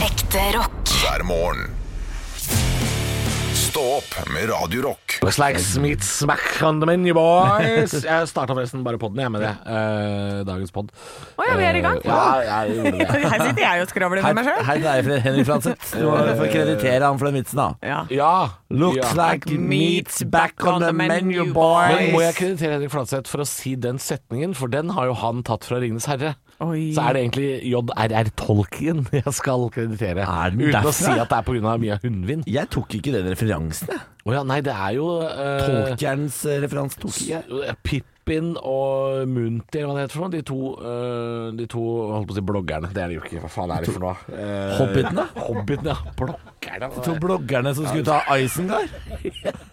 Ekte rock. hver morgen. Stå opp med Radio Rock. Looks like meat smack on the menu, boys. Jeg starta forresten bare podden, jeg, med det. Eh, dagens pod. Å ja, vi er i gang. Eh, ja, jeg gjorde det. Her sitter jeg og skravler med meg sjøl. Hei, det er Fred- Henrik Flanseth. Du må få kreditere han for den vitsen, da. Ja. Ja. Looks ja. like meat's back on the menu, boys. Men må jeg kreditere Henrik Fladseth for å si den setningen, for den har jo han tatt fra 'Ringenes herre'. Oi. Så er det egentlig J.R.R. Tolkien jeg skal kreditere. Er den Uten derfra? å si at det er pga. Mia Hundvin. Jeg tok ikke den referansen, jeg. Å ja, nei, det er jo eh, Tolkerens eh, referanse tok ikke jeg. Pippin og Munti, eller hva det heter for noe. De to, eh, de to holdt på å si bloggerne. Det er det jo ikke. Hva faen er det for noe? Eh, Hobbitene? Hobbiten, ja. Bloggerne. To bloggerne som skulle ta Isengard?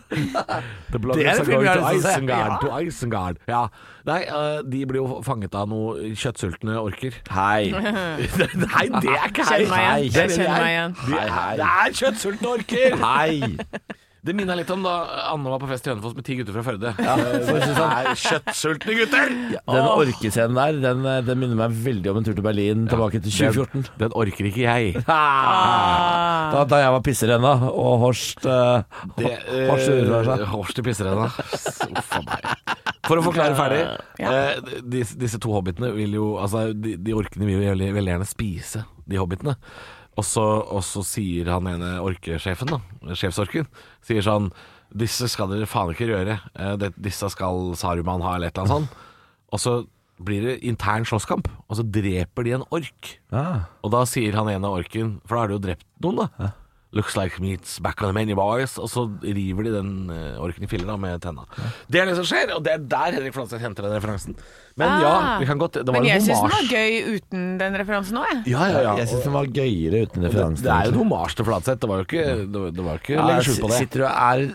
det Det er er en film jeg har lyst til å se. Isengard, to Isengard. Ja. Nei, eh, de blir jo fanget av noen kjøttsultne orker. Hei. Nei, det er ikke Kjenn meg Hei, igjen. hei, Jeg kjenner meg igjen. Det Hei, hei. er, det er kjøttsultne orker! Hei. Det minner litt om da Anne var på fest i Hønefoss med ti gutter fra Førde. Eh, Det er kjøttsultne gutter! Den orkescenen der, den, eh, den minner meg veldig om en tur til Berlin tilbake til 2014. Den orker ikke jeg. Ah. Da, da jeg var pisser ennå, og Horst eh, eh, Horst altså. uroer seg. Horst i pisserenda. For å forklare ferdig. Eh, disse, disse to hobbitene vil jo Altså, de, de orkene vil jo veldig, veldig gjerne spise de hobbitene. Og så, og så sier han ene orkesjefen, da, sjefsorken, sier sånn Disse skal dere faen ikke røre. Eh, det, disse skal Saruman ha, eller et eller annet sånt. Og så blir det intern slåsskamp, og så dreper de en ork. Ah. Og da sier han ene orken, for da har de jo drept noen, da. Looks like meat's back on the menu boys. Og så river de den eh, orken i filler da med tenna. Det er det som skjer, og det er der Henrik Flanseth henter den referansen. Men ja, Ah. vi kan godt Det var Men jeg en syns den var homasj. gøy uten den referansen òg, jeg. Ja, ja, ja. Jeg syns den var gøyere uten Det, referansen. det er jo en homasj til Flanseth. Det var jo ikke, det, var- det var jo ikke Ja, legge skjul på det. Sitter du, er,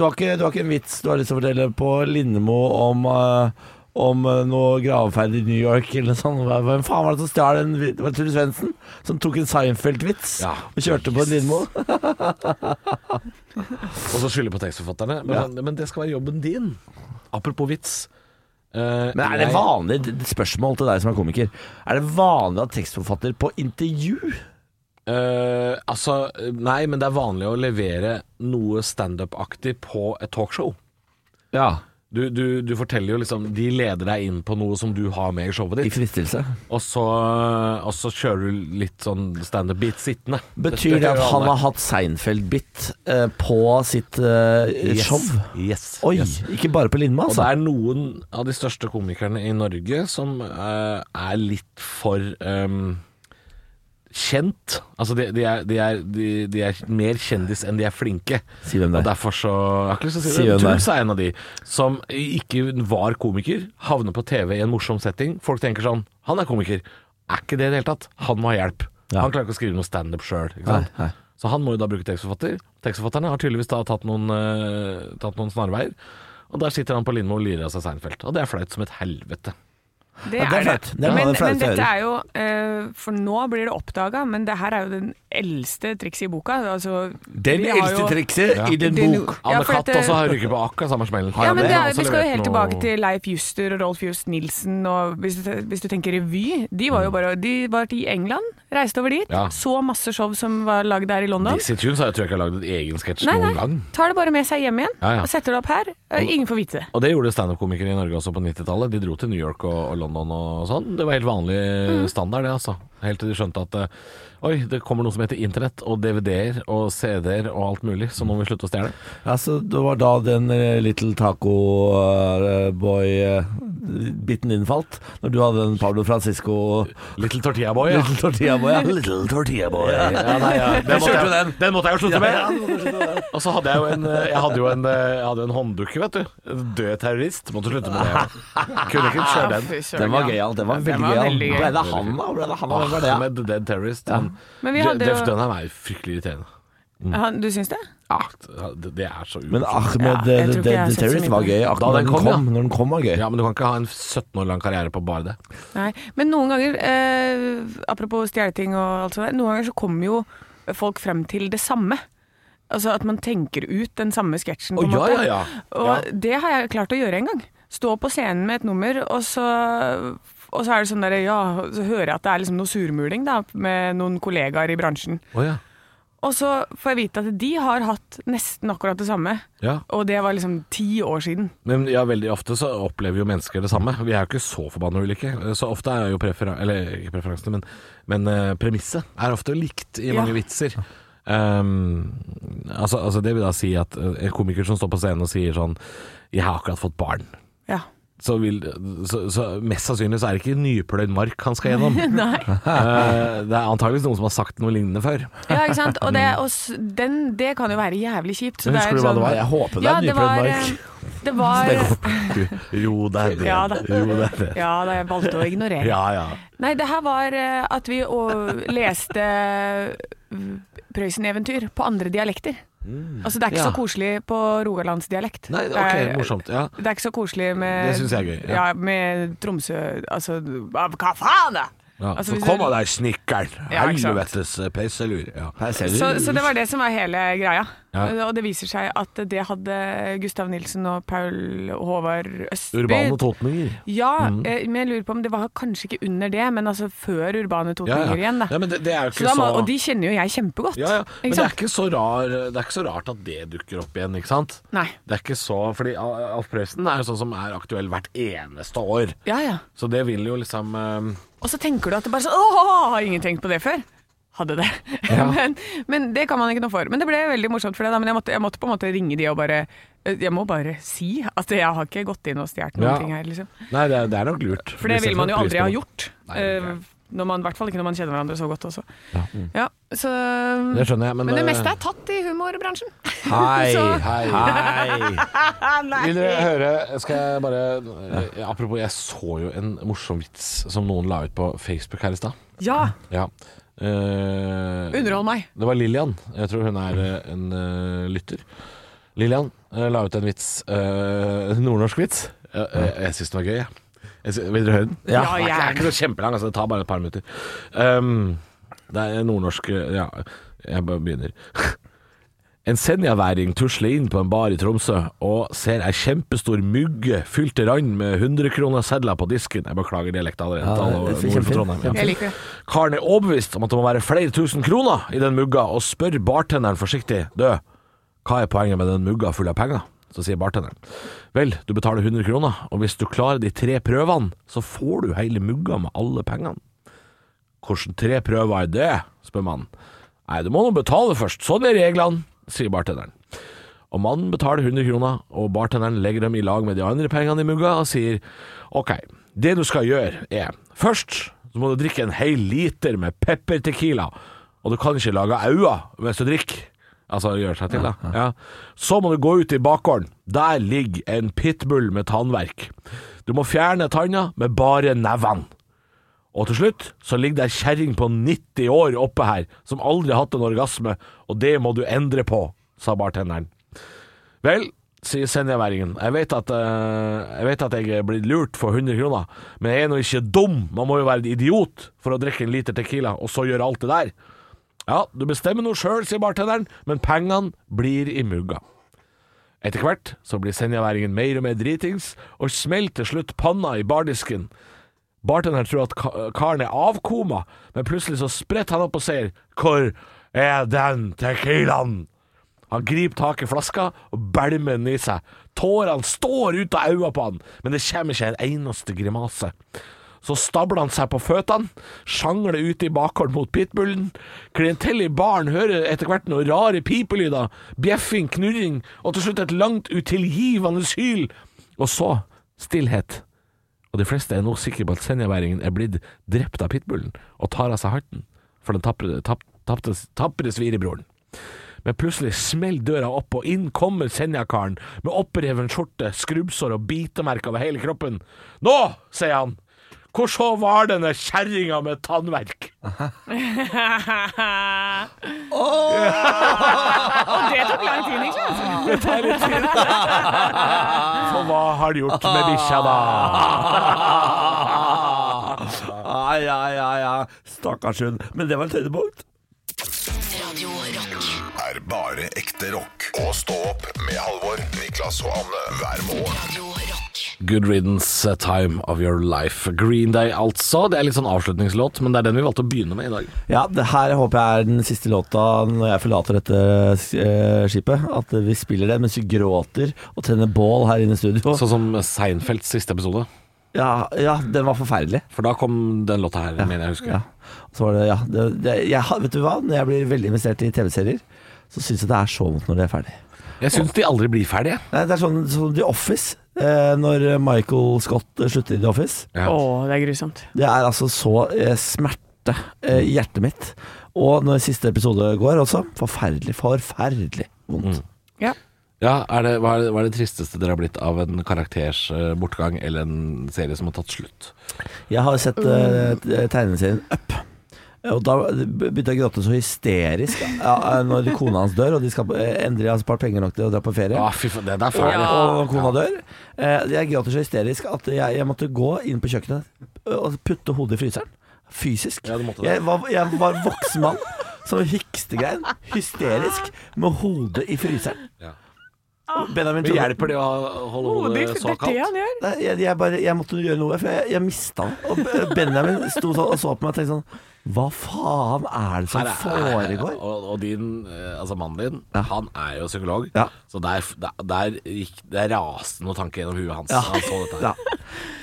du, har ikke, du har ikke en vits du har lyst til å fortelle på Lindemo om, eh, om eh, noe gravferd i New York eller noe sånt. Hva- Hvem faen var det som stjal den? vi- Var det Truls Svendsen? Som tok en Seinfeld-vits Ja. og kjørte på en Lindemo? Og så skylder på tekstforfatterne. Men, men det skal være jobben din. Apropos vits. Eh, Men er det jeg- vanlig, d- d- spørsmål til deg som er komiker, er det vanlig at tekstforfatter på intervju Eh, altså, nei, men det er vanlig å levere noe standup-aktig på et talkshow. Ja. Du, du, du forteller jo liksom De leder deg inn på noe som du har med i showet i ditt, fristelse? og så, og så kjører du litt sånn standup-beat sittende. Betyr det at han har hatt Seinfeld-bit eh, på sitt eh, yes, show? Yes. Oi, yes. ikke bare på Lindmo, Og det altså. er noen av de største komikerne i Norge som eh, er litt for ehm, kjent. Altså, de, de, er, de, er, de, de er mer kjendis enn de er flinke. Si hvem det er. Og derfor så Jeg har ikke lyst til å si, Si det. hvem det er. Truls er en av de som ikke var komiker, havner på TV i en morsom setting. Folk tenker sånn Han er komiker. Er ikke det i det hele tatt. Han må ha hjelp. Ja. Han klarer ikke å skrive noe standup sjøl. Nei, nei. Så han må jo da bruke tekstforfatter. Tekstforfatterne har tydeligvis da tatt noen, eh, tatt noen snarveier. Og der sitter han på Lindmo og lirer av seg Seinfeld. Og det er flaut som et helvete. Det Ja, det er er flaut. det. Det er Men, noe av det flaueste men jeg dette er jo eh, For nå blir det oppdaga, men det her er jo den eldste trikset i boka. Altså, vi har jo- trikset i din Ja, Anne for Katt dette- også har ryket på akkurat samme smellen. Ja, men det Han har er, også Vi skal jo levert helt noe- tilbake til Leif Juster og Rolf Just Nilsen. Og hvis, du, hvis du tenker revy De var jo bare De var i England, reiste over dit, Mm. Ja. så masse show som var lagd der i London. Dixie Tunes har jeg tror jeg ikke har lagd en egen sketsj Nei, noen nei. gang. Tar det bare med seg hjem igjen Ja, ja. og setter det opp her. Eh, Ingen får vite det. Og det gjorde standup-komikere i Norge også på 90-tallet. De dro til New York og, og London og sånn. Det var helt vanlig Mm. standard, det altså. Helt til de skjønte at eh, oi, det kommer noe som heter internett og DVD-er og CD-er og alt mulig, så nå må vi slutte å stjele. Altså, det var da den eh, Little Taco eh, Boy-biten din falt. Når du hadde den Pablo Francisco Little Tortilla Boy, ja. Little Tortilla Boy. Ja. Little Tortilla Boy. Ja, nei, ja. Den måtte, jeg, Kjørte den. måtte jeg jo slutte med. Og så hadde jeg jo en, eh, jeg hadde jo en, jeg hadde jo en hånddukke, vet du. En Død terrorist. Måtte slutte med det. jeg. Kunne ikke kjøre den. Den var gøyal. Den var veldig gøyal. veldig gøy. Ble det han, da? Ble det han, da? Hvem var det? Ah, Med The Dead Terrorist. Han, Men vi hadde Jeff jo- Dunham er jo fryktelig irriterende. Mm. Han, du syns det? Ja, det- det er så Men uforståelig. Ahmed Ja, jeg eh, tror The ikke jeg har Dead sett så Terrorist mye var på den. gøy. Da Akkurat den når kom, den kom, ja. når den kom var gøy. Ja, men du kan ikke ha en 17 år lang karriere på bare det. Nei. Men noen ganger, eh, apropos stjeleting og alt sånt, der, noen ganger så kommer jo folk frem til det samme. Altså at man tenker ut den samme sketsjen, på en Å, ja, ja, måte. ja. Og det har jeg klart å gjøre en gang. Stå på scenen med et nummer, og så og så er det sånn der, ja, så hører jeg at det er liksom noe surmuling da, med noen kollegaer i bransjen. Å ja. Og så får jeg vite at de har hatt nesten akkurat det samme, ja. og det var liksom ti år siden. Men ja, veldig ofte så opplever jo mennesker det samme. Vi er jo ikke så forbanna ulike. Så ofte er jo prefera eller, ikke preferansene, men, men eh, premisset er ofte likt i Ja. mange vitser. Ehm, altså, altså det vil da si at eh, en komiker som står på scenen og sier sånn 'Jeg har akkurat fått barn', Ja. så, vil, så, så mest sannsynlig så er det ikke nypløyd mark han skal gjennom. Nei. Eh, det er antageligvis noen som har sagt noe lignende før. Ja, ikke sant? Og, det, og s- den, det kan jo være jævlig kjjipt. så Men det er husker du jo hva det var? Jeg håper det Ja, er det var, nyprøvd mark. eh, det var Du, Ro deg ned. Ja da. Ro deg ned. Ja, da jeg valgte å ignorere. Ja ja. Nei, det her var eh, at vi og leste eh, Prøysen-eventyr på andre dialekter. Altså, det er Mm. ikke Ja. så koselig på rogalandsdialekt. Nei, Det ok, er- morsomt. Ja. Det er ikke så koselig med Det synes jeg er gøy, Ja, ja. med Tromsø Altså, ah, hva faen, da?! Ja, Altså, så hvis kom du- av deg, snikkeren! Ja, ikke sant. Helvetes peiselur. Ja. Her ser du. Så, så det var det som var hele greia. Ja. Og det viser seg at det hadde Gustav Nilsen og Paul Håvard Østby Urbane Mm. totninger. Ja, eh, men jeg lurer på om det var kanskje ikke under det, men altså før Urbane Totninger igjen, da. ja, men det, det er jo Så ikke da så, må, og de kjenner jo jeg kjempegodt. ja, ja. Men Ikke det er sant? ikke så, rar, det er ikke så rart at det dukker opp igjen, ikke sant? Nei. Det er ikke så Fordi Al- Alf Prøysen er jo sånn som er aktuell hvert eneste år. Ja, ja. Så det vil jo liksom eh, Og så tenker du at det bare sånn Åh, har ingen tenkt på det før? Hadde det. men, men det kan man ikke noe for. Men det ble veldig morsomt for deg, da. Men jeg måtte, jeg måtte på en måte ringe de og bare eh, Jeg må bare si at jeg har ikke gått inn og stjålet noen Ja. ting her, liksom. Nei, det er, det er nok lurt. For det Vi setter vil man jo pris aldri på ha det. gjort. Nei, det er eh, når man, I hvert fall ikke når man kjenner hverandre så godt også. Ja. Ja, så, Det skjønner jeg, men, Mm. men det eh, meste er tatt i humorbransjen. Hei, Så- hei, hei. Vil dere høre Skal jeg bare eh, Apropos, jeg så jo en morsom vits som noen la ut på Facebook her i stad. Ja, Ja. Eh, underhold meg. Det var Lillian. Jeg tror hun er eh, en eh, lytter. Lillian eh, la ut en vits. eh, nordnorsk vits. Eh, eh, jeg syns den var gøy, jeg. jeg. sy- Vil dere høre den? Ja, Den er ikke- den er ikke så kjempelang, altså. Det tar bare et par minutter. Um, det er nordnorsk eh, Ja, jeg bare begynner. En senjaværing tusler inn på en bar i Tromsø og ser ei kjempestor mugge fylt til rand med 100-kronersedler på disken. Jeg beklager dialekta allerede. Ja, Alle det er nord for kjempefint. Trondheim, ja. Jeg liker det. Karen er overbevist om at det må være flere tusen kroner i den mugga, og spør bartenderen forsiktig Du, hva er poenget med den mugga full av penger? Så sier bartenderen Vel, du betaler 100 kroner, og hvis du klarer de tre prøvene, så får du hele mugga med alle pengene. Hvordan tre prøver er det? spør mannen. Nei, du må nå betale først, sånn er reglene, sier bartenderen. Og mannen betaler 100 kroner, og bartenderen legger dem i lag med de andre pengene i mugga og sier Ok, det du skal gjøre er Først så må du drikke en hel liter med pepper tequila, og du kan ikke lage øyne mens du drikker. Altså gjøre seg til, da. Ja. Så må du gå ut i bakgården. Der ligger en pitbull med tannverk. Du må fjerne tanna med bare nevene. Og til slutt så ligger det ei kjerring på 90 år oppe her, som aldri har hatt en orgasme, og det må du endre på, sa bartenderen. Vel, sier senjaværingen, jeg vet at eh, jeg vet at jeg er blitt lurt for 100 kroner, men jeg er nå ikke dum, man må jo være en idiot for å drikke en liter tequila, og så gjøre alt det der. Ja, du bestemmer noe sjøl, sier bartenderen, men pengene blir i mugga. Etter hvert så blir senjaværingen mer og mer dritings, og smelter til slutt panna i bardisken. Bartenderen tror at ka- karen er avkoma, men plutselig så spretter han opp og sier Hvor er den tequilaen? Han griper tak i flaska og bælmer den i seg. Tårene står ut av øynene på han, men det kommer ikke en eneste grimase. Så stabler han seg på føttene, sjangler ut i bakgården mot pitbullen. Klientellet i baren hører etter hvert noen rare pipelyder, bjeffing, knurring og til slutt et langt utilgivende hyl. Og så stillhet. Og de fleste er nå sikre på at senjaværingen er blitt drept av pitbullen og tar av seg hatten for den tapre, tap, tapte, tapre svirebroren. Men plutselig smeller døra opp, og inn kommer Senja-karen med oppreven skjorte, skrubbsår og bitemerker over hele kroppen. Nå, sier han, hvor så var denne kjerringa med tannverk? Og det tok lang tid, Niklas. Så hva har de gjort med bikkja, da? Ai, ai, ai, ai. Stakkars hund. Men det var et høydepunkt. Radio Rock. Er bare ekte rock. Og stå opp med Halvor, Niklas og Anne hver morgen. Radio Rock. Good riddance eh, time of your life. Green Day, altså. Det er litt sånn avslutningslåt, men det er den vi valgte å begynne med i dag. Ja, det her håper jeg er den siste låta når jeg forlater dette eh, skipet. At vi spiller det mens vi gråter og tenner bål her inne i studio. Sånn som Seinfelds siste episode. Ja, ja, den var forferdelig. For da kom den låta her, mener jeg å huske. Ja. Så var det, ja, det, det, jeg, har- vet du hva? Når jeg blir veldig investert i TV-serier, så syns jeg det er så vondt når det er ferdig. Jeg syns de aldri blir ferdige. Nei, det er sånn som The Office. Eh, når Michael Scott eh, slutter i The Office. Ja. Å, det er grusomt. Det er altså så eh, smerte eh, i hjertet mitt. Og når siste episode går også, forferdelig, forferdelig vondt. Ja. Ja, er det, hva, er det, hva er det tristeste dere har blitt av en karakters eh, bortgang eller en serie som har tatt slutt? Jeg har sett eh, tegneserien Up. Eh, Og da begynte jeg å gråte så hysterisk ja, når kona hans dør, og de skal, eh, endelig har spart penger nok til å dra på ferie. Ja, fy faen, det det er Og, ferdig. og når kona dør. Eh, jeg gråter så hysterisk at jeg, jeg måtte gå inn på kjøkkenet eh, og putte hodet i fryseren. Fysisk. Ja, du måtte det. jeg, var, jeg var voksen mann som hikstegrein, hysterisk, med hodet i fryseren. Ja. Og Benjamin Men trodde- hjelper det å ha- holde Hodet i hodet fri- så Det er det kaldt? han gjør. Nei, jeg, jeg, bare, jeg måtte gjøre noe, for jeg, jeg mista det. Og B- Benjamin sto sånn og så på meg og tenkte sånn Hva faen er det som Her er- foregår? Og, og din, eh, altså mannen din, han er jo psykolog, Ja. så der, der, der, gikk, der raste noen tanker gjennom huet hans. Ja. Han så dette her. Ja,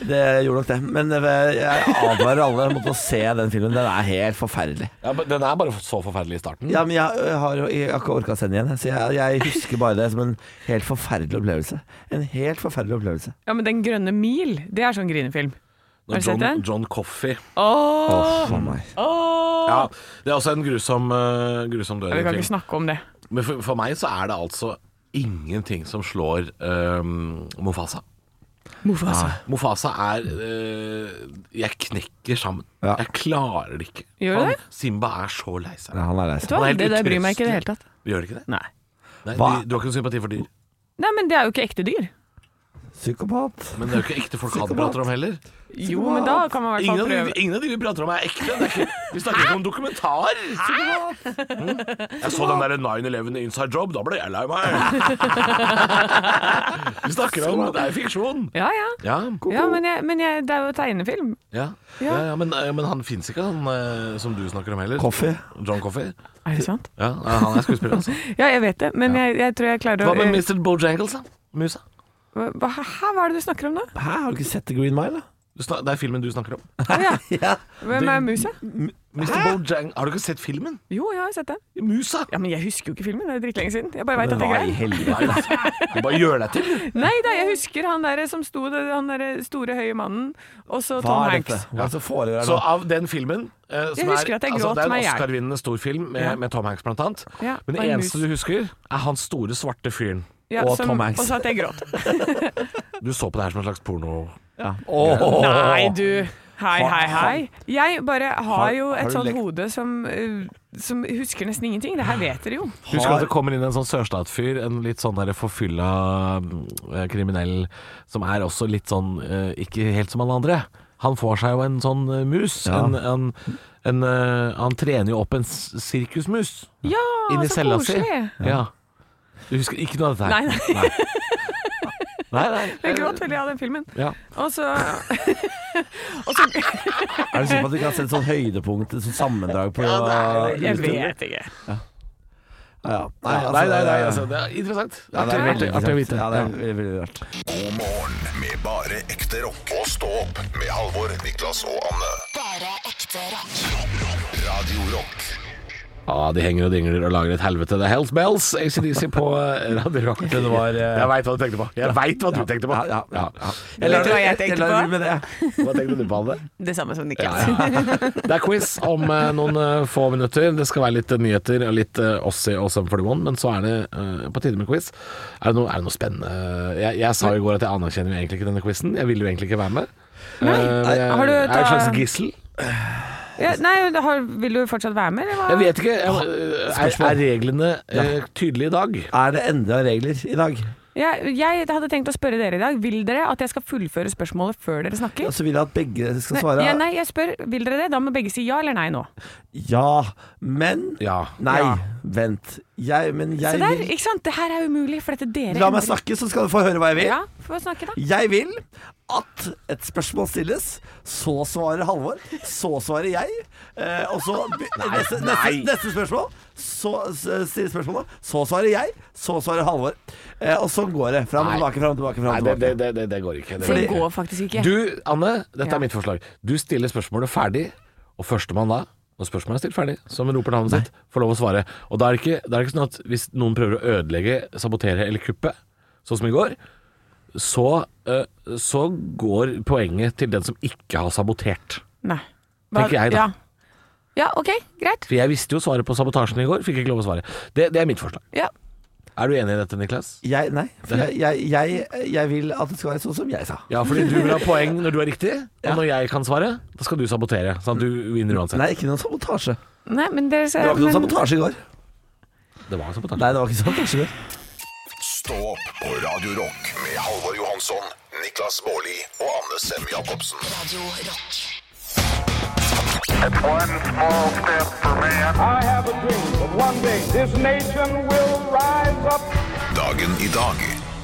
det gjorde nok det. Men eh, jeg advarer alle mot å se den filmen. Den er helt forferdelig. Ja, men den er bare så forferdelig i starten. Ja, men jeg, jeg har jo jeg har ikke orka å se den igjen, jeg, så jeg, jeg husker bare det som en helt forferdelig opplevelse. En helt forferdelig opplevelse. Ja, men Den grønne mil, det er sånn grinefilm. Når Har du sett John, den? John Coffey. Åh, For meg. åh. Ja, det er også en grusom, eh, grusom død. Ja, i Vi kan film. ikke snakke om det. Men for, for meg så er det altså ingenting som slår um, Mofasa. altså. Mofasa. Mofasa er eh, Jeg knekker sammen. Ja. Jeg klarer det ikke. Gjør du han, det? Simba er så lei seg. Ja, han er lei Vet du seg. hva? Han er helt Det der bryr meg ikke i det hele utrøstelig. tatt. Gjør det ikke det? Nei. Nei, Hva? de, du har ikke noe sympati for dyr? Nei, men det er jo ikke ekte dyr. Psykopat. Men det er jo ikke ekte folk han prater om heller. Jo, men da kan man i hvert Ingen fall av, de, prøve. ingen av de vi prater om er ekte. Det er ikke, vi snakker ikke om dokumentar. Mm. Jeg så den der 9-11 Inside Job, da ble jeg lei meg. Vi snakker om Det er fiksjon. Ja, ja. Ja, ja men, jeg, men jeg, det er jo tegnefilm. ja. ja, ja men, eh, men han fins ikke, han eh, som du snakker om heller. Coffee. John Coffey. Er det sant? Ja, han er skuespiller, altså. Ja, jeg vet det, men jeg, jeg tror jeg klarer å Hva med Mr. Bojangles, da? Musa? Hva, hæ, hva er det du snakker om nå? Hæ, har du ikke sett The Green Mile, da? Du snak- Det er filmen du snakker om. Å, ja. Ja. Hvem er musa? Mr. Bojang Har du ikke sett filmen? Jo, jeg har sett den. Musa! Ja, Men jeg husker jo ikke filmen, det er drittlenge siden. Jeg bare Men vet at det hva er i greit. helvete? altså? Du bare gjør deg til. Nei da, jeg husker han derre som sto der, han derre store, høye mannen, og så Hva Tom er Hanks. dette? Hva er det som foregår Så nå? av den filmen eh, som Jeg husker er, at jeg gråt Det er meg i en hjel. Oscar-vinnende stor film med, Ja. med Tom Hanks blant annet. Ja, Men og det en eneste mus. du husker, er han store, svarte fyren. Ja, og som- Tom Hanks. Og så at jeg gråt. Du så på det her som en slags porno... Ja. Åh. Nei, du. Hei, hei, hei. Jeg bare har jo har et du sånt lekt- hode som, eh, som husker nesten ingenting. Det her vet dere jo. Husker du at det kommer inn en sånn sørstatsfyr, en litt sånn der forfylla mm, eh, kriminell, som er også litt sånn eh, ikke helt som alle andre. Han får seg jo en sånn eh, mus. Ja. En, en, en, eh, han trener jo opp en s- sirkusmus Ja, inni så cella si. koselig. Ja. Du husker ikke noe av dette Nei, her? nei, Nei, nei. jeg gråt veldig av den filmen. Ja. Og så Er det sånn at du ikke har sett sånn høydepunkt, et sånn sammendrag på Jeg vet ikke. Ja. Nei, nei, nei, nei altså, det er interessant. Ja, det er veldig Artig- artig å interessant. vite. Ja, det er veldig, veldig rart. God morgen med bare ekte rock. Og stå opp med Halvor, Niklas og Anne. Bare ekte rock. Radio Rock. Ja, Ah, de henger og dingler og lager et helvete. Det er Hells Bells, ACDC på eh, Radio Rock. Det var, eh, Jeg veit hva du tenkte på. Jeg vet hva du tenkte på. Ja, ja, ja, ja. Eller- Vet du hva jeg tenkte eller- på? med det. Hva tenkte du på, Anne? Det samme som Niklas. Det er quiz om eh, noen eh, få minutter. Det skal være litt eh, nyheter og litt eh, oss i Awesome 41, men så er det eh, på tide med quiz. Er det noe, er det noe spennende jeg, jeg sa i går at jeg anerkjenner jo egentlig ikke denne quizen. Jeg ville jo egentlig ikke være med. Nei, eh, jeg, har du jeg er et ta- slags gissel. Ja, nei, da har, vil du fortsatt være med, eller hva? Jeg vet ikke. Jeg, er, Spørsmål. er reglene eh, tydelige i dag? Er det endra regler i dag? Jeg, jeg hadde tenkt å spørre dere i dag. Vil dere at jeg skal fullføre spørsmålet før dere snakker? Og så Altså, vil jeg at begge skal Nei, svare ja, nei, jeg spør, vil dere det? Da må begge si ja eller nei nå. ja, men Ja. Nei, Ja. vent. Jeg, men Se jeg der, vil ikke sant? Det her er umulig, for dette dere La meg endrer- snakke, så skal du få høre hva jeg vil. Ja, få snakke, da. Jeg vil at et spørsmål stilles, så svarer Halvor, så svarer jeg. Eh, og så neste, neste, neste spørsmål, så s- stiller spørsmålet, så svarer jeg, så svarer Halvor. Eh, og sånn går det. Fram og Nei. tilbake, fram og tilbake. Fram Nei, og det, det, tilbake. det, det, det går ikke. Det Det går går faktisk ikke. ikke. Du, Anne, dette Ja. er mitt forslag. Du stiller spørsmålet ferdig, og førstemann da, når spørsmålet er stilt ferdig, som roper navnet sitt, får lov å svare. Og da er det ikke, da er det ikke sånn at hvis noen prøver å ødelegge, sabotere eller kuppe, sånn som i går, så, eh, så går poenget til den som ikke har sabotert. Nei. Tenker jeg, da. Ja. ja, OK, greit. For jeg visste jo svaret på sabotasjen i går, fikk ikke lov å svare. Det, det er mitt forslag. Ja. Er du enig i dette, Niklas? Jeg, nei, for jeg, jeg, jeg, jeg vil at det skal være sånn som jeg sa. Ja, fordi du vil ha poeng når du er riktig, og når jeg kan svare, da skal du sabotere. Sånn at du vinner uansett. Nei, ikke noen sabotasje. Det Nei, men dere ser var ikke noen men- sabotasje i går. Det var sabotasje. Nei, det var ikke sabotasje i går. Stå opp på Radio Rock med Halvor Johansson, Niklas Baarli og Anne Sem Jacobsen. Radio Rock. It's one small step for man. I have a dream that one day this nation will rise up. Dagen i dag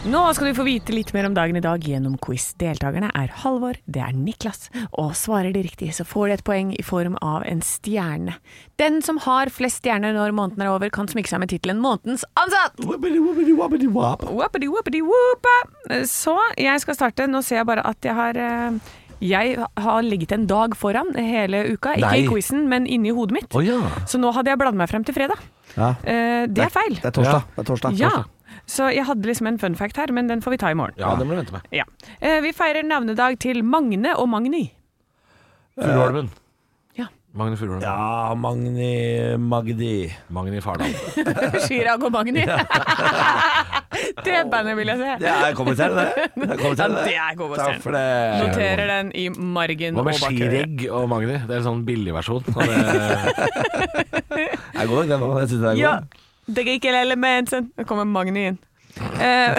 Nå skal du få vite litt mer om dagen i dag gjennom quiz. Deltakerne er Halvor, det er Niklas, og svarer de riktig, så får de et poeng i form av en stjerne. Den som har flest stjerner når måneden er over, kan smykke seg med tittelen 'Månedens ansatt'. Wobbidi, wobbidi, wobbidi, wop. Whoopity, whoopity, whoopa. Så jeg skal starte. Nå ser jeg bare at jeg har eh, jeg har ligget en dag foran hele uka. Ikke Nei. i quizen, men inni hodet mitt. Å ja. Så nå hadde jeg bladd meg frem til fredag. Ja. Eh, det er feil. Det er torsdag. Det er torsdag. Ja. Så jeg hadde liksom en fun fact her, men den får vi ta i morgen. ja, det må du vente med. Ja. Eh, vi feirer navnedag til Magne og Magny. Furuholmen. Eh, Ja. Magne Furuholmen. Ja, Magni Magdi. Magni Fardal. Chirag og Magny. det bandet vil jeg se. Det er kommentar, det. Det er kommentar, Ja, det er kommentar. Takk for det. Noterer den i margen Hva og med bak Chireg og Magni? Det er en sånn billigversjon. av det. Jeg er god nok, den òg. Jeg synes den er god. Ja, det gikk hele elementen. Nå kommer Magny inn. Eh,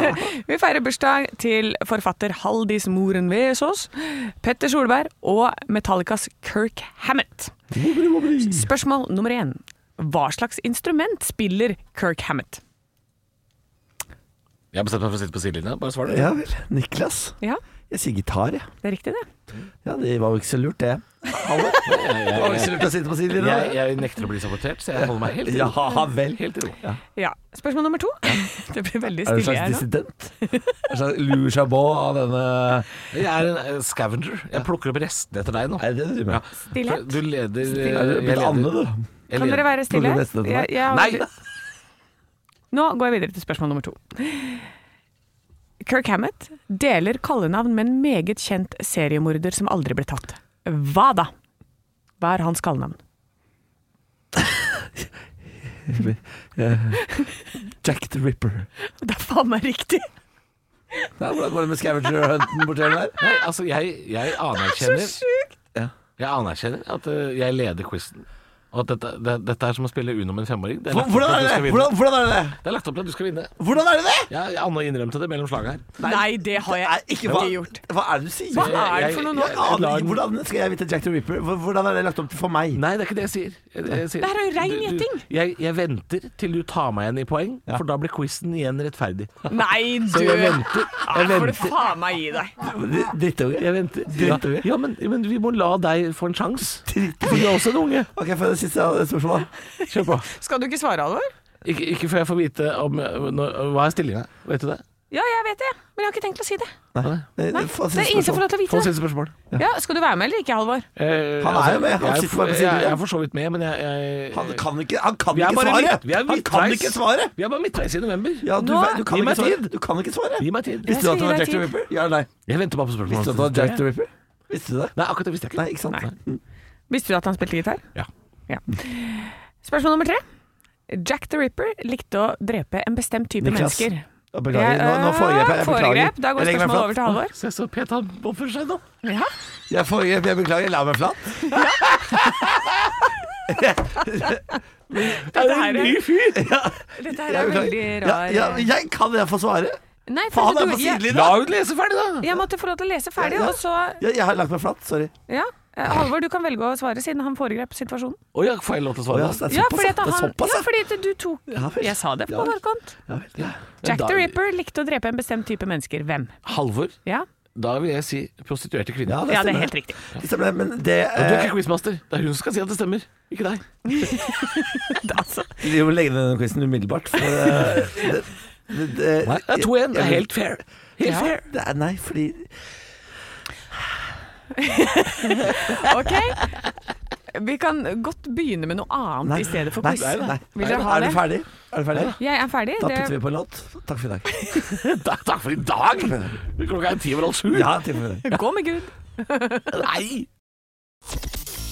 vi feirer bursdag til forfatter Haldis Moren Vesaas, Petter Solberg og Metallicas Kirk Hammett. Spørsmål nummer én. Hva slags instrument spiller Kirk Hammett? Jeg har bestemt meg for å sitte på sidelinja. Bare svar det. Ja vel. Niklas. Ja, Jeg sier gitar, jeg. det er riktig, det. Ja, det var jo ikke så lurt, det. Hallo? Det var jo ikke så lurt å sitte på Jeg, sidelinjen. jeg nekter å bli sabotert, så jeg holder meg helt i ro. Ja vel. Helt ro. Ja. Ja. Spørsmål nummer to. Det blir veldig Er du en stille slags her nå. dissident? En slags Louis Chabot av denne Jeg er en eh, scavenger. Jeg plukker opp restene etter deg nå. Er det det du Ja. driver med? Stillhet. Du leder eh, Er jeg det blitt leder- Anne, du? jeg Kan leder. dere være stille? Trodde du nesten at det var- Jeg- jeg har Nei. veldig- Nå går jeg videre til spørsmål nummer to. Kirk Hammett deler kallenavn med en meget kjent seriemorder som aldri ble tatt. Hva da? Hva er hans kallenavn? Jack the Ripper. Det er faen meg riktig! Nei, hvordan går det med scavenger-hunten borti der? Nei, altså, jeg, jeg Så anerkjenner sjukt! Jeg anerkjenner at eh, jeg leder quizen. Og at dette, det, dette er som å spille Uno med en femåring. Det er lagt opp til Hvordan at du skal vinne. Det er det det? Hvordan, hvordan er det det? er lagt opp til at du skal vinne. Hvordan er det det? Ja, Anne innrømte det mellom slaga her. Nei, det har jeg Nei, ikke hva, gjort. hva er det du sier? Hva er det for noe nå? Jeg aner ikke. Hvordan skal jeg vite Jack the Ripper? Hvor- Hvordan er det lagt opp for meg? Nei, det er ikke det jeg sier. Jeg, jeg sier Det her er jo rein du- du- gjetting. Jeg, jeg venter til du tar meg igjen i poeng, for da blir quizen igjen rettferdig. Nei, du! Så jeg venter. Nei, Jeg får du venter. faen meg gi deg. Drittunge. Jeg venter. Driter vi? Ja, ja men, men vi må la deg få en sjanse. For du er også en unge. Ok, for det siste spørsmålet. Kjør på. Skal du ikke svare, Alvor? Ikke, ikke før jeg får vite om når, Hva er stillinga? Vet du det? Ja, jeg vet det, men jeg har ikke tenkt å si det. Nei. Nei, Eh, Få det er ingen som får lov til Få å vite det. siste spørsmål. Ja, skal du være med eller ikke, Halvor? Eh, Han er jo med. Han jeg, sitter bare på jeg, sidelinja. jeg, jeg er for så vidt med, men jeg, jeg Han kan ikke, han kan Vi er ikke bare svare! midt- vi er han kan midtveis. ikke svare! Vi er bare midtveis i november. Ja, du, Nå- du, kan gi ikke meg svare. tid. du kan ikke svare. Gi meg tid. Visste du Jeg at det skal var gi Jack deg the tid. Ripper? Ja eller nei? Jeg venter bare på spørsmålet. Visste du at det var Jack the Ripper? Visste du det? Nei, akkurat det visste jeg ikke. Nei, ikke sant? Visste du at han spilte gitar? Ja. Ja. Spørsmål nummer tre. Jack the Ripper likte å drepe en bestemt type Niklas. mennesker. øh, Ja, Beklager. Nå, nå foregrep jeg. Jeg beklager. Foregrep. Da går Jeg legger spørsmålet meg flat. over til Halvor. Se så pent han oppfører seg nå. Jeg foregrep, jeg beklager. Jeg la meg flat. Dette her er, fyr! dette her Jeg er beklager. veldig Ja, rar øh, ja, jeg kan jeg få svare? Nei, først Faen, jeg er du- på jeg, sidelinjen! La henne lese ferdig, da! jeg måtte få lov til å lese ferdig, Ja, ja. og så Ja, jeg har lagt meg flat. Sorry. Ja. Eh, Halvor, du kan velge å svare siden han foregrep situasjonen. Å ja, får jeg lov til å Å, svare? ja, så det er Ja, såpass, fordi, ja. at Det er han, såpass, ja, ja. fordi at du tok Ja, vel. Jeg sa det på Ja, vel. forkant. Ja, vel, ja. Jack the Da- Ripper likte å drepe en bestemt type mennesker. Hvem? Halvor, Ja, da vil jeg si prostituerte kvinner. ja det er helt riktig. Det stemmer, men det Og du er eh, ikke quizmaster. Det er hun som skal si at det stemmer, ikke deg. Altså, Vi må legge ned denne quizen umiddelbart. For, eh, øh, det, det, det, Nei, det er 2-1. Det er helt fair. Helt Ja. fair. Det er, nei, fordi ok. Vi kan godt begynne med noe nei, annet i stedet for nei, quiz. nei, nei. Vil dere ha Er du det? ferdig? Er du ferdig? Jeg er ferdig. Da Det- putter vi på en låt. Takk for i dag. Da- Takk for i dag! Klokka er ti over halv sju. Ja, takk for i dag. Gå med Gud. Nei!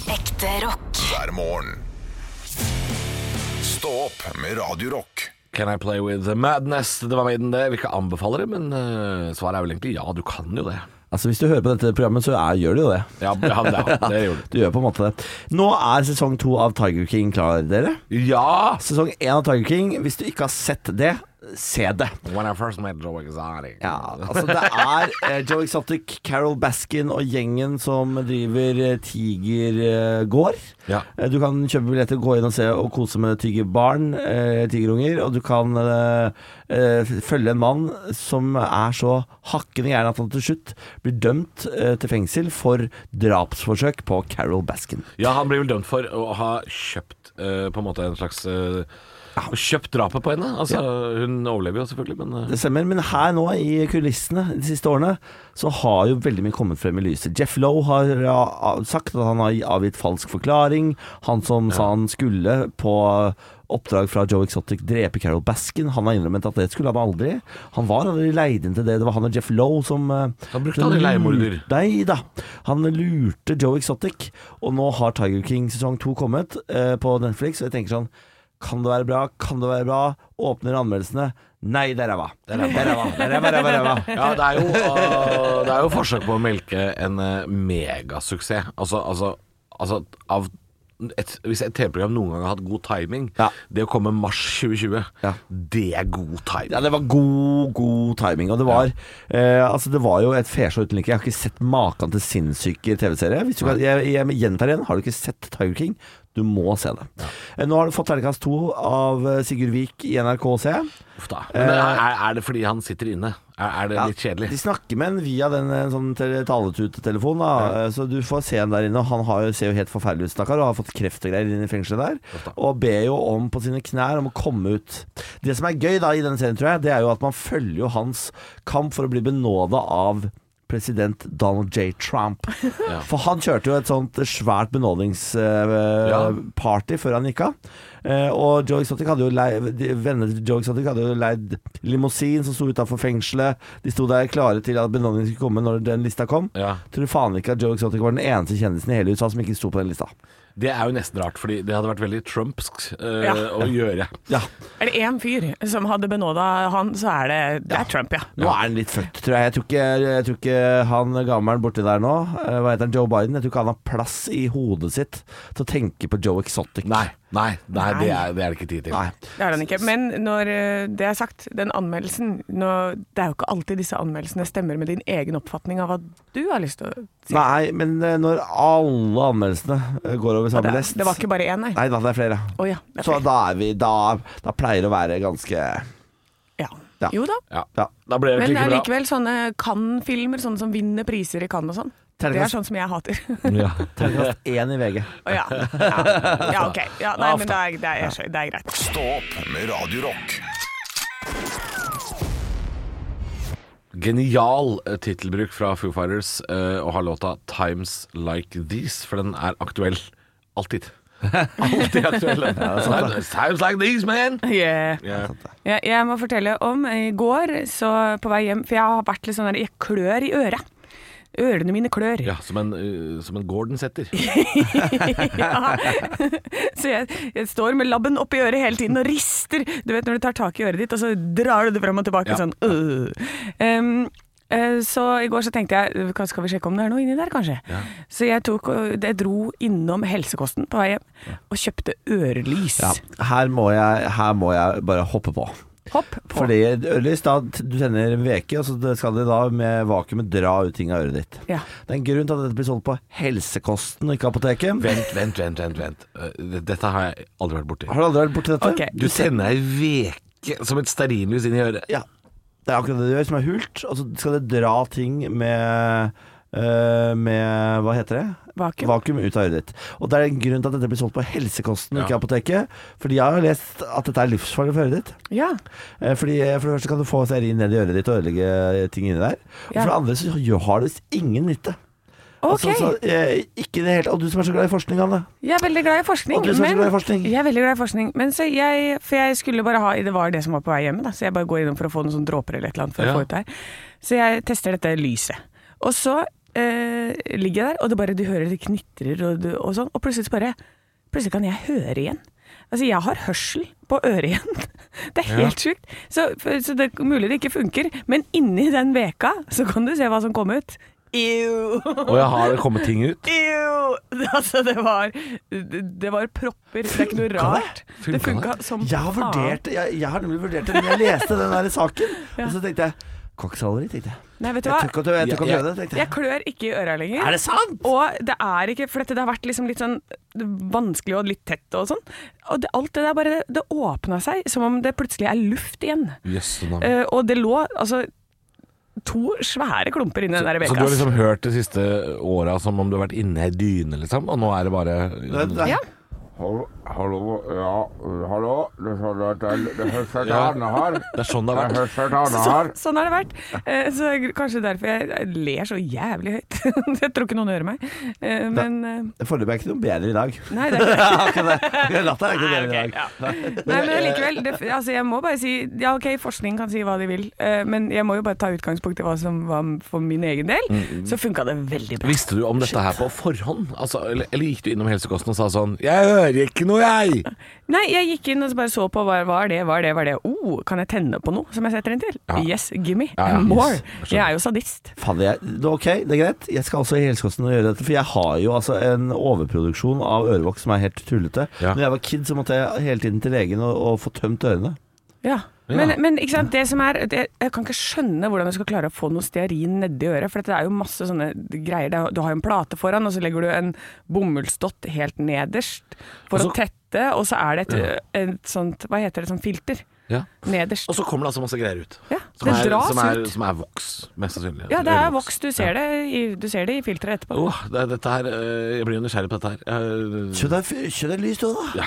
Ekte rock. hver morgen. Stå opp med Radio Rock. Can I play with the madness? Det var Maiden, det. Vil ikke anbefale det, men eh, svaret er vel egentlig ja, du kan jo det. Altså, hvis du hører på dette programmet, så er, gjør du jo det. Ja, ja, det, ja det gjorde du. Du gjør på en måte det. Nå er sesong to av Tiger King klar, dere. Ja! Sesong én av Tiger King, hvis du ikke har sett det, se det. When I first met Joe Exotic. Ja, altså det er eh, Joe Exotic, Carol Baskin og gjengen som driver eh, Tigergård. Ja. Eh, Du kan kjøpe billetter, gå inn og se og kose med tigerbarn, eh, tigerunger. Og du kan eh, eh, følge en mann som er så hakkende gæren at han til slutt blir dømt eh, til fengsel for drapsforsøk på Carol Baskin. Ja, han blir vel dømt for å ha kjøpt eh, på en måte en slags eh, Kjøpt drapet på henne. Altså, Hun overlever jo selvfølgelig, men eh, Det stemmer, men her nå i kulissene de siste årene, så har jo veldig mye kommet frem i lyset. Jeff Lowe har ja, sagt at han har avgitt falsk forklaring. Han som sa han skulle på oppdrag fra Joe Exotic drepe Carol Baskin, han har innrømmet at det skulle han aldri. Han var aldri leid inn til det. Det var han og Jeff Lowe som eh, Han brukte som aldri lurte- leiemorder. Nei da. Han lurte Joe Exotic, og nå har Tiger King sesong to kommet eh, på Netflix, og jeg tenker sånn Kan det være bra? Kan det være bra? Åpner anmeldelsene. Nei, der er hva. Der er hva, der er hva, der er hva, der er hva. Ja, det er, jo, øh, det er jo forsøk på å melke en øh, megasuksess. Altså, altså, altså av et, Hvis et TV-program noen gang har hatt god timing Ja. Det å komme mars 2020, Ja. det er god timing. Ja, det var god, god timing. Og det var, eh, altså, det var jo et fesjå uten like. Jeg har ikke sett maken til sinnssyke TV-serier. Hvis du kan- Jeg, jeg gjentar igjen, har du ikke sett Tiger King? Du må se det. Eh, Nå har du fått terningkast to av eh, Sigurd Vik i NRK-C. Uff da. Men er, er det fordi han sitter inne? Er, er det litt Eh. De kjedelig? snakker med en via den eh, sånn tele- taletutetelefonen, da. Eh, så du får se en der inne. og Han har jo, ser jo helt forferdelig ut, stakkar, og har fått kreft og greier inne i fengselet der. Og ber jo om på sine knær om å komme ut. Det som er gøy da i denne serien, tror jeg, det er jo at man følger jo hans kamp for å bli benåda av President Donald J. Trump. For han kjørte jo et sånt svært eh, Ja. benådingsparty før han gikk av. Eh, og Joe Exotic hadde jo leid, de- vennene til Joe Exotic hadde jo leid limousin som sto utafor fengselet. De sto der klare til at benådningen skulle komme når den lista kom. Ja. Tror faen ikke at Joe Exotic var den eneste kjendisen i hele USA som ikke sto på den lista. Det er jo nesten rart, fordi det hadde vært veldig trumpsk øh, Ja. å gjøre. Ja, Er det én fyr som hadde benåda han, så er det, det er Trump, ja. Nå er han litt fucked, tror jeg. Jeg tror ikke, jeg tror ikke han gammelen borti der nå, eh, hva heter han, Joe Biden, jeg tror ikke han har plass i hodet sitt til å tenke på Joe Exotic. Nei, nei, nei, Det, er, det er det ikke tid til. Nei. Det er han ikke. Men når eh, det er sagt, den anmeldelsen nå, Det er jo ikke alltid disse anmeldelsene stemmer med din egen oppfatning av hva du har lyst til å si. Nei, men eh, når alle anmeldelsene eh, går over samme det, lest det var ikke bare én, nei. Nei da, det er flere. Å ja, det er Så flere. da er vi Da, da pleier det å være ganske Ja. Ja. Jo da. Ja. Ja. Da ble det Men ikke bra. allikevel sånne Cannes-filmer, sånne som vinner priser i Cannes og sånn. Det er Terningkast- sånn som jeg hater. Terningkast én i VG. Å ja. ja. Ja, ok. Ja, nei, men det er, det er, jeg skjø- det er greit. Stå opp med Radio Rock Genial eh, tittelbruk fra Foo Fighters eh, å ha låta 'Times Like These', for den er aktuell alltid. Alltid aktuell. den. Times like these, man! Yeah. Jeg, jeg må fortelle om i går, så på vei hjem For jeg har vært litt sånn der Jeg klør i øret. Ørene mine klør. Ja, som en, eh, som en Gordon setter. ja. Så jeg, jeg står med labben oppi øret hele tiden og rister. Du vet når du tar tak i øret ditt, og så drar du det frem og tilbake Ja. sånn. øh. Em, eh, så i går så tenkte jeg øh, "Hva skal vi sjekke om det er noe inni der, kanskje. Så jeg, tok, og- jeg dro innom helsekosten på vei hjem og kjøpte ørelys. Ja. Her, må jeg, her må jeg bare hoppe på. Hopp på. Fordi ørlys, da, du tenner en veke, og så skal det da med vakuumet dra ut ting av øret ditt. Ja. Det er en grunn til at dette blir solgt på helsekosten og ikke apoteket. Vent, vent, vent. vent, vent. Eh, Dette har jeg aldri vært borti. Har du aldri vært borti dette? Ok. Du sender ei veke som et stearinlys inn i øret. Ja. Det er akkurat det du gjør, som er hult. Og så skal det dra ting med eh, med hva heter det? Vakuum. ut av øret ditt. Og det er en grunn til at dette blir solgt på helsekosten, og Ja. ikke apoteket. Fordi jeg har lest at dette er livsfarlig for øret ditt. Ja. Eh, Fordi eh, For det første kan du få stearin ned i øret ditt og ødelegge eh, ting inni der. Og Ja. for det andre så gjør- har det ingen nytte. Ok. Altså, så, eh, ikke i det hele, og du som er så glad i forskning, Anne. Jeg er veldig glad i forskning. Og du som er så men- glad i forskning. Jeg er veldig glad i forskning. Men så jeg, for jeg skulle bare ha Det var det som var på vei hjemme, da. Så jeg bare går innom for å få noen sånne dråper eller et eller annet for Ja. å få ut det her. Så jeg tester dette lyset. Og så eh, ligger jeg der, og det bare, du hører det knitrer og, du- og sånn. Og plutselig så bare Plutselig kan jeg høre igjen. Altså, jeg har hørsel på øret igjen. Det er helt sjukt. Så, så det er mulig det ikke funker, men inni den veka så kan du se hva som kom ut. Ew. Og jeg har det kommet ting ut. Ew! Altså, det var Det det var propper. Det er ikke noe rart. Funka det funka det? som Jeg har faen. vurdert det, jeg, jeg har nemlig vurdert det men jeg leste den der saken. Og så tenkte jeg Kokksalveri, tenkte jeg. Nei, vet du Jeg tør hva. ikke å jeg tør ikke å Jeg- prøve det, tenkte Jeg jeg. klør ikke i øra lenger. Er det sant? Og det er ikke For dette det har vært liksom litt sånn vanskelig og litt tett og sånn. Og det, alt det der bare Det åpna seg som om det plutselig er luft igjen. Jøsse navn. Eh, og det lå altså to svære klumper inni den der Så du har veka. liksom hørt de siste åra som om du har vært inne i ei dyne, liksom, og nå er det bare Det- det- Ja. Hallo, hallo, ja, hallo. Det er sånn at jeg- det høres et Ja. annet her. Det er sånn det har Det vært. høres et annet Så, her. sånn har det vært. Eh, så det er kanskje derfor jeg ler så jævlig høyt. jeg tror ikke noen hører meg. Eh, men eh, Foreløpig er ikke noe bedre i dag. Nei, det er ikke det. Akkurat det. Akkurat Latter er ikke noe bedre i dag. Nei, men allikevel. det- Altså, jeg må bare si Ja, OK, forskning kan si hva de vil, eh, men jeg må jo bare ta utgangspunkt i hva som var for min egen del. Så funka det veldig bra. Visste du om dette her på forhånd? Altså, eller, eller gikk du innom helsekosten og sa sånn 'Jeg hører ikke noe, jeg'? Nei, jeg gikk inn og så bare så på hva hva er det, hva er det, hva er det. Oh, kan jeg tenne på noe som jeg setter inn til? Ja. Yes, gimme. Ja, ja, More. yes. Jeg skjønner. Jeg er jo sadist. Fader, jeg, det er ok, det er greit. Jeg skal også i helsekosten og gjøre dette, for jeg har jo altså en overproduksjon av ørevoks som er helt tullete. Ja. Når jeg var kid, så måtte jeg hele tiden til legen og, og få tømt ørene. Ja. Men, men ikke sant, det som er det, Jeg kan ikke skjønne hvordan du skal klare å få noe stearin nedi øret, for det er jo masse sånne greier. Det er- Du har jo en plate foran, og så legger du en bomullsdott helt nederst for Og så- å tette, og så er det et, et sånt Hva heter det, sånn filter Ja. nederst. Og så kommer det altså masse greier ut. Ja, Som det er, dras som er, ut. som er voks, mest sannsynlig. Ja, det er Ørevoks. voks. Du ser, det, i, du ser det i filteret etterpå. Åh, det er dette her øh, Jeg blir jo nysgjerrig på dette her. Jeg, Kjøp deg f- kjøp deg lys, du, da. ja.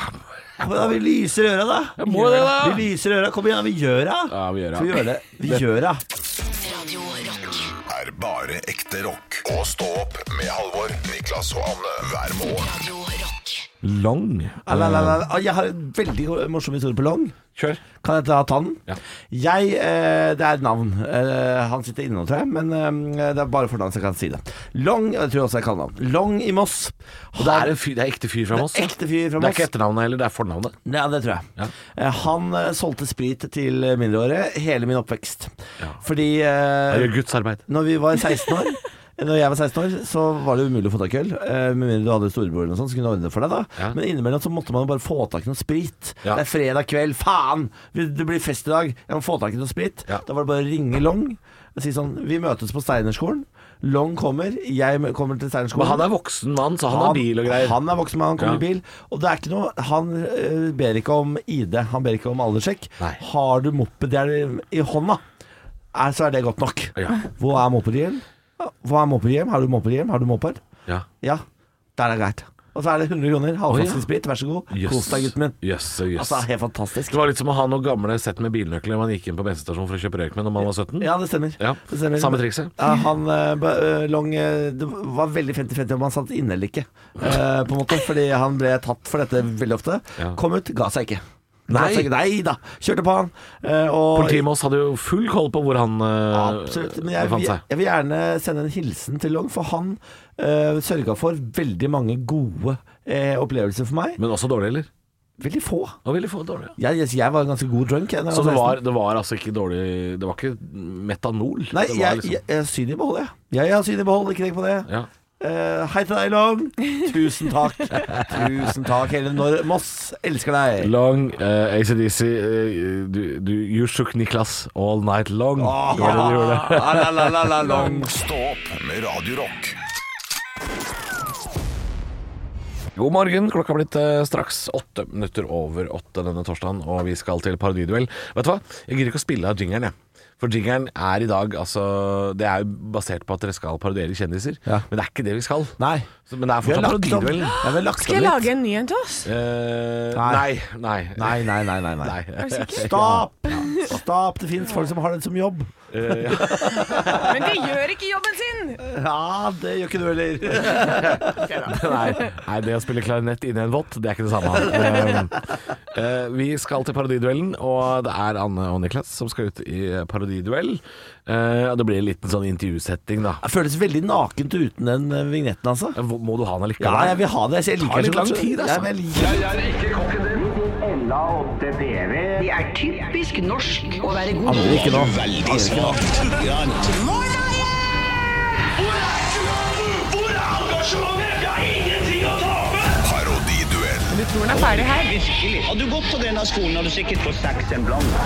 Ja, men da, vi lyser øra, da. Jeg må det, da. Vi lyser øra. Kom igjen, da. Vi gjør det. Ja, vi gjør det. Skal vi gjøre det. Vi gjør det. Radio Rock. er bare ekte rock. Og stå opp med Halvor, Niklas og Anne hver morgen. Radio Rock. Lang. Al, al, al, al. Ah, Jeg har en veldig morsom historie på lang. Kjør. Kan jeg ta tannen? Ja. Jeg eh, Det er et navn. Eh, han sitter inne nå, tror jeg, men eh, det er bare fornavn som kan si det. Long Jeg tror også jeg kaller navn. Long i Moss. Og Det er, en fyr, det er ekte fyr fra Moss. ja. ekte fyr fra Det er Moss. ikke etternavnet heller, det er fornavnet. Ja, det tror jeg. Ja. Eh, Han eh, solgte sprit til eh, mindreårige hele min oppvekst. Ja. Fordi eh, Han gjør Guds arbeid. Når vi var 16 år Når jeg var 16 år, så var det umulig å få tak i øl. Eh, Med mindre du hadde storebror eller noe sånt, så kunne du ordne det for deg da. Ja. Men innimellom så måtte man jo bare få tak i noe sprit. Ja. Det er fredag kveld, faen! Det blir fest i dag, jeg må få tak i noe sprit. Ja. Da var det bare å ringe Long og si sånn Vi møtes på Steinerskolen. Long kommer, jeg mø- kommer til Steinerskolen. Men han er voksen mann, så han, har bil og greier. Han er voksen mann, han kommer Ja. i bil. Og det er ikke noe Han eh, ber ikke om ID, han ber ikke om alderssjekk. Nei. Har du moped i, i hånda, er, så er det godt nok. Ja. Hvor er mopedhjelm? Hva er mopedhjelm? Har du mopedhjelm? Har du moped? Ja. Ja, da er det greit. Og så er det 100 Å, kroner, ja. halvflaske sprit, vær så god. Kos deg, gutten min. Jøss, jøss. Altså, helt fantastisk. Det var litt som å ha noen gamle sett med bilnøkler man gikk inn på bensinstasjonen for å kjøpe røyk med når man var 17. Ja, det stemmer. Ja, Det stemmer. samme trikset. Ja, han eh, ba- eh, Long eh, Det var veldig 50-50 om han satt inne eller ikke, eh, på en måte. Fordi han ble tatt for dette veldig ofte. Ja. Kom ut, ga seg ikke. Ga Nei. seg ikke. Nei da. Kjørte på han. eh, og- Politiet med oss hadde jo full koll på hvor han eh, Absolutt. Men jeg, befant vil- seg. jeg vil gjerne sende en hilsen til Long, for han uh, sørga for veldig mange gode eh, opplevelser for meg. Men også dårlig, eller? Veldig få. Og veldig få dårlige. Jeg, jeg, jeg var en ganske god drunk. Jeg, når jeg Så det var 16. var, det var altså ikke dårlig Det var ikke metanol? Nei, det var liksom- jeg, jeg, jeg har syn i behold, jeg. Jeg har syn i behold, ikke tenk på det. ja. Eh, hei til deg, Long. Tusen takk. Tusen takk, hele Nor Moss. Elsker deg. Long, uh, ACDC eh, du, du, You shook Niklas all night long. Ah, Det var det du gjorde. ah, la, la, la, la, long. Stå opp med Radio Rock. God morgen, klokka har blitt eh, straks åtte minutter over åtte denne torsdagen, og vi skal til parodiduell. Vet du hva, jeg gidder ikke å spille av jingeren, jeg. For jingeren er i dag, altså Det er jo basert på at dere skal parodiere kjendiser, Ja. men det er ikke det vi skal. Nei. Så, men det er Vi har fortsatt lagt om. parodiduellen. Ja, vi har lagt Skal om jeg litt. lage en ny en til oss? Eh, nei. Nei. Nei. Nei, nei, nei, nei. nei. Er du sikker? Stopp! Stopp! Det finnes folk som har det som jobb. Eh, ja. Men de gjør ikke jobben sin! Ja, det gjør ikke du heller. nei, nei, det å spille klarinett inni en vott, det er ikke det samme. Eh, eh, vi skal til parodiduellen, og det er Anne og Niklas som skal ut i eh, parodiduell. Eh, og det blir en liten sånn intervjusetting, da. Det føles veldig nakent uten den eh, vignetten, altså. Eh, Må du ha den allikevel? Ja, jeg vil ha det. Jeg liker tar det litt så godt. lang tid, altså. Ja, men jeg liker det. Det er typisk norsk å være god. Angrer ikke nå. Hvor er engasjementet? Jeg har ingenting å tape! Parodiduell. Du tror den er ferdig her. Virkelig. Hadde du gått på denne skolen, hadde du sikkert fått seks en blant.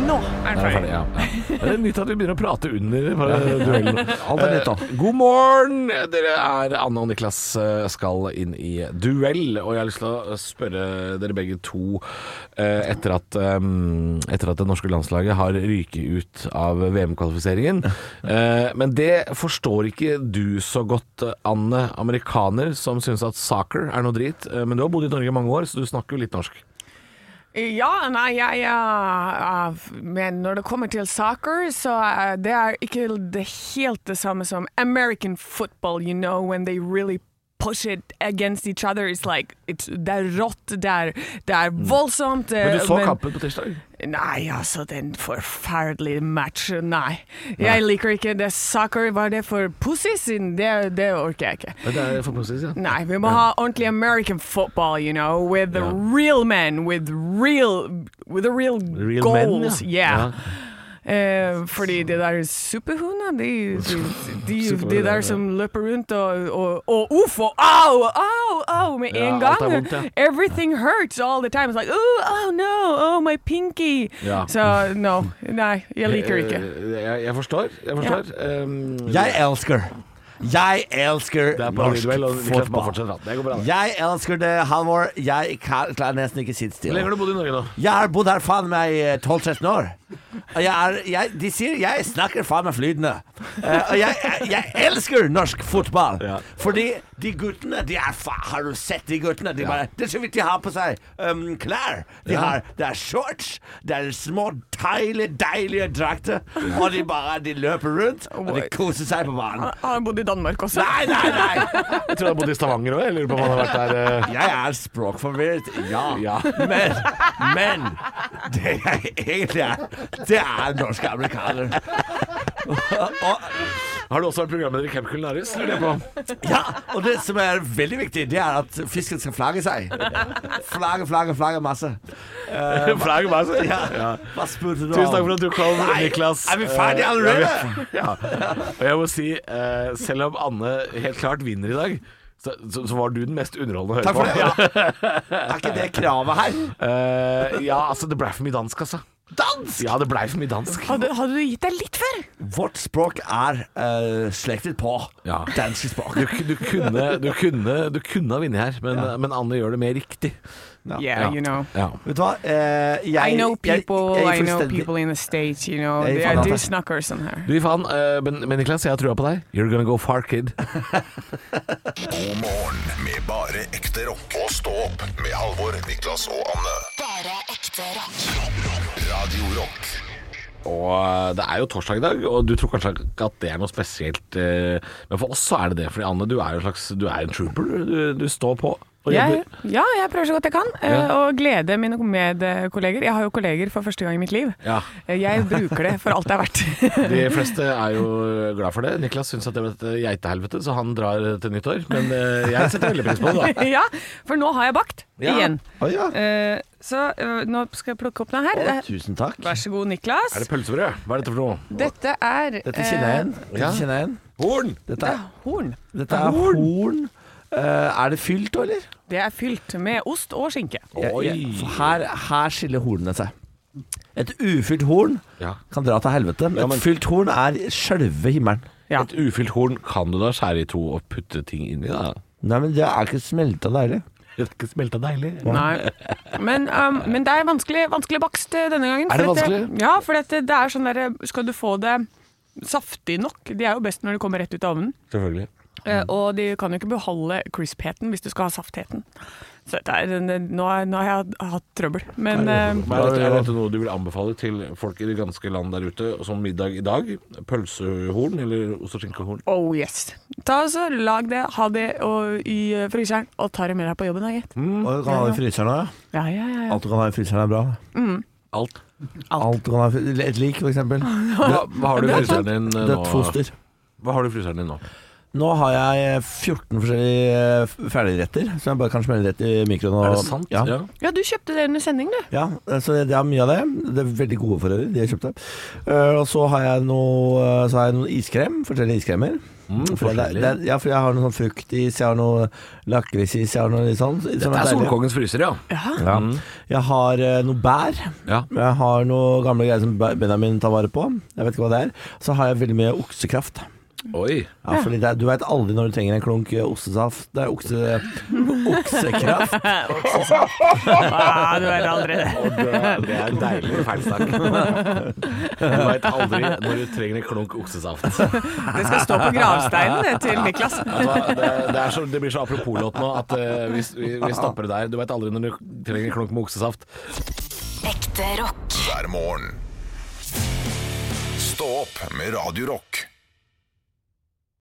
Nå er Er den ferdig. ferdig, ja. Ja. Det er nytt at vi begynner å prate under eh, duellen. Alt er nytt da. Eh, God morgen! Dere er Anne og Niklas eh, skal inn i duell. Og jeg har lyst til å eh, spørre dere begge to eh, etter at, eh, etter at det norske landslaget har ryket ut av VM-kvalifiseringen. Eh, Men det forstår ikke du så godt, eh, Anne, amerikaner som syns at soccer er noe drit. Eh, Men du har bodd i Norge i mange år, så du snakker jo litt norsk. Ja, nei, jeg ja, ja, Men når det kommer til soccer, så eh, det er ikke det helt det samme som American football, you know, when they really push it against each other. It's like, it's, det er rått, det er, det er voldsomt. Mm. eh, Men du så kampen på tirsdag? Nei, altså, den forferdelige matchen, nei. Jeg liker ikke det. Soccer, var det for pussies? Det, det orker jeg ikke. Det er for positivt, ja. Nei, vi må ha ordentlig American football, you know, with the real men, with real, with the real, Real goals. men, yeah. ja. Eh, fordi det der superhundene, de, de, de, de, Superhunder, ja. der som løper rundt og, og, og uff og au, au, au med Ja, en alt er gang. vondt, ja. Everything hurts all the time. It's like, oh, oh no, oh my pinky. Ja. Så no, nei, jeg liker ikke. Eh, Jeg, jeg forstår. Jeg forstår. Um, Jeg elsker Jeg elsker det er norsk parodiduell, og Niklas bare fotball. fortsetter. da. Det går bra. det. Jeg elsker det, Halvor. Jeg kan- klarer nesten ikke sitte Hvor lenge stille. har du bodd i Norge nå? Jeg har bodd her faen meg i 12-13 år. Og jeg er, jeg, de sier jeg snakker faen meg flytende. Eh, og jeg, jeg, jeg elsker norsk fotball. Ja. Fordi de guttene de er fa Har du sett de guttene? De bare, det er så vidt de har på seg um, klær. De har, det er shorts, det er små, deilige, deilige drakter. Og de bare de løper rundt, og de koser seg på banen. Har han bodd i Danmark også? Nei, nei, nei! Jeg tror du har bodd i Stavanger òg. Jeg lurer på om han har vært der eh, Jeg er språkforvirret, ja. Ja. Men, men det jeg egentlig er, det er norske amerikaner. Og, Har du også vært programleder i Camp Culinaris? lurer jeg på? ja, og det som er veldig viktig, det er at fisken skal flagge seg. Flagge, flagge, flagge masse. Flau meg, så. Ja. Hva spurte du om? Tusen takk for at du kom, Nei, Niklas. Er vi ferdige Eh, allerede? Ja. Og jeg må si, eh, selv om Anne helt klart vinner i dag, så, så, så var du den mest underholdende å høre Takk for på. det. Ja. Er ikke det kravet her? Eh, ja, altså, det blei for mye dansk, altså. Dansk! Ja, det blei for mye dansk. Hadde, hadde du gitt deg litt før? Vårt språk er eh, slektet på Ja. danske språk. Du, du, kunne, du, kunne, du kunne ha vunnet her, men, men Anne gjør det mer riktig. Yeah, you know. Ja. Vet du hva? Eh, jeg, I know jeg- people, jeg gir I know fullstendig- people in the States, you know. Jeg gir They faen are i de alt, jeg. snakker sånn her. Du, faen, eh, men, men Niklas, jeg har trua på deg. You're gonna go far, kid. God morgen med bare ekte rock. Og stå opp med Halvor, Niklas og Anne. Bare ekte rock. Radio Rock. Og eh, det er jo torsdag i dag, og du tror kanskje ikke at det er noe spesielt eh, Men for oss så er det det, fordi Anne, du er jo en slags Du er en trooper. Du, du står på og Jeg, jobber. ja, jeg prøver så godt jeg kan eh, Ja. å glede mine medkolleger. Jeg har jo kolleger for første gang i mitt liv. Ja. Eh, Jeg bruker det for alt det er verdt. De fleste er jo glad for det. Niklas syns at det var et eh, geitehelvete, så han drar til nyttår. Men eh, jeg setter veldig pris på det, da. ja, for nå har jeg bakt Ja. igjen. Å, ja. Eh, så eh, nå skal jeg plukke opp den her. Å, Eh, tusen takk. Vær så god, Niklas. Er det pølsebrød? Hva er dette for noe? Dette er eh, Dette kjenner jeg igjen. ja. Dette kjenner jeg igjen. Horn! Dette er, Horn. dette er horn. Eh, er det fylt òg, eller? Det er fylt med ost og skinke. Jeg- Oi. jeg- for her, her skiller hornene seg. Et ufylt horn Ja. kan dra til helvete, men, men- et fylt horn er sjølve himmelen. Ja. Et ufylt horn kan du da skjære i to og putte ting inni, da. Nei, men det er ikke smelta deilig. Det er ikke smelta deilig. Nei. Men, um, men det er vanskelig, vanskelig bakst eh, denne gangen. Er det for at vanskelig? ja, for at det er sånn derre Skal du få det saftig nok? De er jo best når de kommer rett ut av ovnen. Selvfølgelig. Mm. Eh, og de kan jo ikke beholde crispheten hvis du skal ha saftheten. Så dette er, en- nå, er, nå har jeg hatt trøbbel. Men eh, Men er, dette, er dette noe du vil anbefale til folk i det ganske land der ute som middag i dag? Pølsehorn eller ost- og skinkehorn? oh yes. Ta og så Lag det, ha det og, i eh, fryseren, og ta det med deg på jobben, da, gitt. Mm. Og du kan ha det i fryseren òg, ja. Ja, ja, ja, ja. Alt du kan ha i fryseren er bra. Alt. Alt du kan ha i fry- Et lik, for eksempel. Hva, hva har du i fryseren din eh, Dødt nå? foster. Hva har du i fryseren din nå? Nå har jeg 14 forskjellige eh, f- ferdigretter, som jeg bare kan smelle rett i mikroen. Og, Er det sant? Ja. Ja. Ja, du kjøpte det under sending, du. Ja, så det er mye av det. Det er veldig gode for øvrig, de jeg kjøpte. Eh, og så har jeg noe, eh, så har jeg noen iskrem, forskjellige iskremer. Mm, for, det, er- forskjellige. det, er- ja, for jeg har noe sånn fruktis, jeg har noe lakrisis, jeg har noe litt sånn. som Dette er deilig. Solkongens fryser, ja. Ja. Jeg har eh, noe bær. Ja. Jeg har noe gamle greier som Be- Benjamin tar vare på. Jeg vet ikke hva det er. Så har jeg veldig mye oksekraft. Oi. Ja, fordi det er, Du veit aldri når du trenger en klunk eh, ostesaft. Det er okse, oksekraft. Ah, du er aldri det. Det er en deilig feilsnakk. Du veit aldri når du trenger en klunk oksesaft. Det skal stå på gravsteinen det, til Niklas. Altså, det, det, er så, det blir så apropos-låt nå at eh, vi, vi, vi stopper det der. Du veit aldri når du trenger en klunk med oksesaft. Ekte rock. hver morgen. Stå opp med Radio Rock.